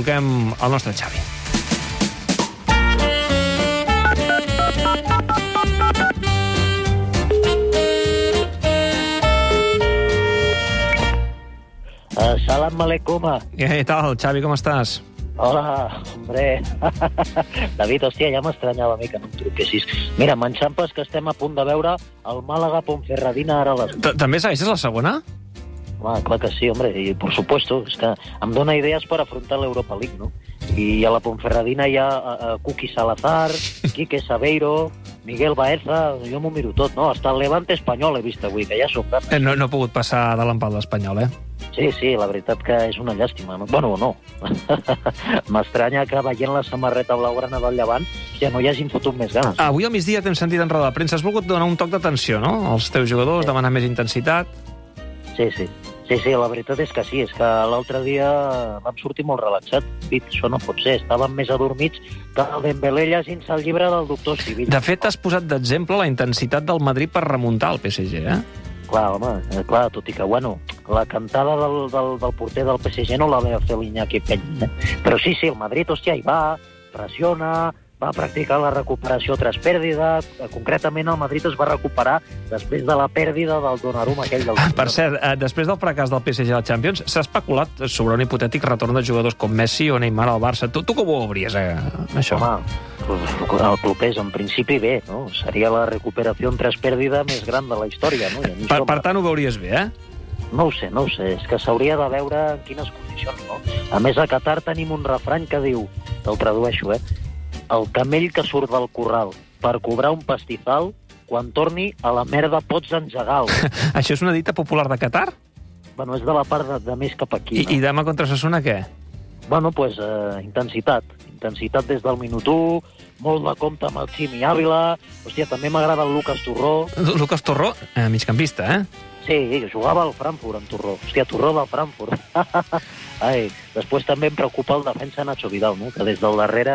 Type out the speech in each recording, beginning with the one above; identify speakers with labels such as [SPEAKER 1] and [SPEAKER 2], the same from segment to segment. [SPEAKER 1] Truquem al nostre Xavi.
[SPEAKER 2] Eh, Salam aleikum.
[SPEAKER 1] Eh, Què tal, Xavi, com estàs?
[SPEAKER 2] Hola, hombre. David, hòstia, ja m'estranyava a mi que no em truquessis. Mira, m'enxampes que estem a punt de veure el Màlaga Ponferradina ara a les...
[SPEAKER 1] T També segueixes la segona?
[SPEAKER 2] Ah, clar que sí, hombre, i per supuesto, és que em dóna idees per afrontar l'Europa League, no? I a la Ponferradina hi ha uh, Cuqui Salazar, Quique Sabeiro, Miguel Baeza, jo m'ho miro tot, no? Hasta el Levante Espanyol he vist avui, que ja som gran.
[SPEAKER 1] Eh, No, no he pogut passar de l'empat a l'Espanyol, eh?
[SPEAKER 2] Sí, sí, la veritat que és una llàstima. No? Bueno, no. M'estranya que veient la samarreta blaugrana del Llevant ja no hi hagin fotut més ganes.
[SPEAKER 1] Avui al migdia t'hem sentit en roda de premsa. Has volgut donar un toc d'atenció, no?, als teus jugadors,
[SPEAKER 2] Sí.
[SPEAKER 1] demanar més intensitat.
[SPEAKER 2] Sí, sí. Sí, sí, la veritat és que sí, és que l'altre dia vam sortir molt relaxat. Dit, això no pot ser, estàvem més adormits que el Dembélé llegint-se el llibre del doctor Civil.
[SPEAKER 1] De fet, has posat d'exemple la intensitat del Madrid per remuntar el PSG, eh?
[SPEAKER 2] Clar, home, eh, clar, tot i que, bueno, la cantada del, del, del porter del PSG no la va fer l'Iñaki Peña. eh? Però sí, sí, el Madrid, hòstia, hi va, pressiona, va practicar la recuperació tras pèrdida. Eh, Concretament, el Madrid es va recuperar després de la pèrdua del Donnarumma, aquell del...
[SPEAKER 1] Ah, Per cert, eh, després del fracàs del PSG a la Champions, s'ha especulat sobre un hipotètic retorn de jugadors com Messi o Neymar al Barça. Tu, tu com ho veuries, eh, això?
[SPEAKER 2] Home, el club és, en principi, bé, no? Seria la recuperació en tres pèrdua més gran de la història, no? I a mi
[SPEAKER 1] Per,
[SPEAKER 2] això
[SPEAKER 1] per tant, ho veuries bé, eh?
[SPEAKER 2] No ho sé, no ho sé. És que s'hauria de veure en quines condicions, no? A més, a Qatar tenim un refrany que diu, te'l tradueixo, eh? El camell que surt del corral per cobrar un pastizal, quan torni a la merda pots engegar-lo.
[SPEAKER 1] Això és una dita popular de Qatar?
[SPEAKER 2] bueno, és de la part de, de més cap
[SPEAKER 1] I,
[SPEAKER 2] aquí,
[SPEAKER 1] i
[SPEAKER 2] no?
[SPEAKER 1] demà contra Sassuna què?
[SPEAKER 2] Bueno, doncs, pues, eh, intensitat. Intensitat des del minut 1, molt de compte amb el Ximi Ávila, hòstia, també m'agrada el Lucas Torró,
[SPEAKER 1] Lucas Torró, eh, migcampista, eh?
[SPEAKER 2] Sí, jugava al Frankfurt, en Torró. Hòstia, Torró del Frankfurt. Ai, després també em preocupa el defensa Nacho Vidal, no? que des del darrere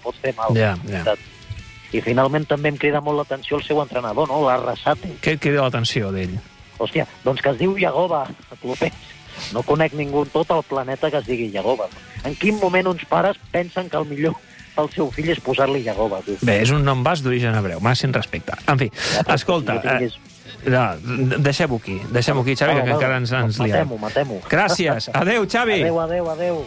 [SPEAKER 2] pot fer mal.
[SPEAKER 1] Ja, ja.
[SPEAKER 2] I finalment també em crida molt l'atenció el seu entrenador, no? l'Arrasate.
[SPEAKER 1] Què et crida l'atenció d'ell?
[SPEAKER 2] Hòstia, doncs que es diu Iagoba, clubers. No conec ningú en tot el planeta que es digui Iagoba. En quin moment uns pares pensen que el millor pel seu fill és posar-li Iagoba? Tu?
[SPEAKER 1] Bé, és un nom bas d'origen hebreu, màxim respecte. En fi, escolta,
[SPEAKER 2] Jo tingués-
[SPEAKER 1] eh, no, deixem-ho aquí, deixem-ho aquí, Xavi, que
[SPEAKER 2] Vale, vale.
[SPEAKER 1] encara ens, ens liem.
[SPEAKER 2] Matem-ho, matem-ho.
[SPEAKER 1] Gràcies, adeu, Xavi.
[SPEAKER 2] Adéu, adéu, adéu.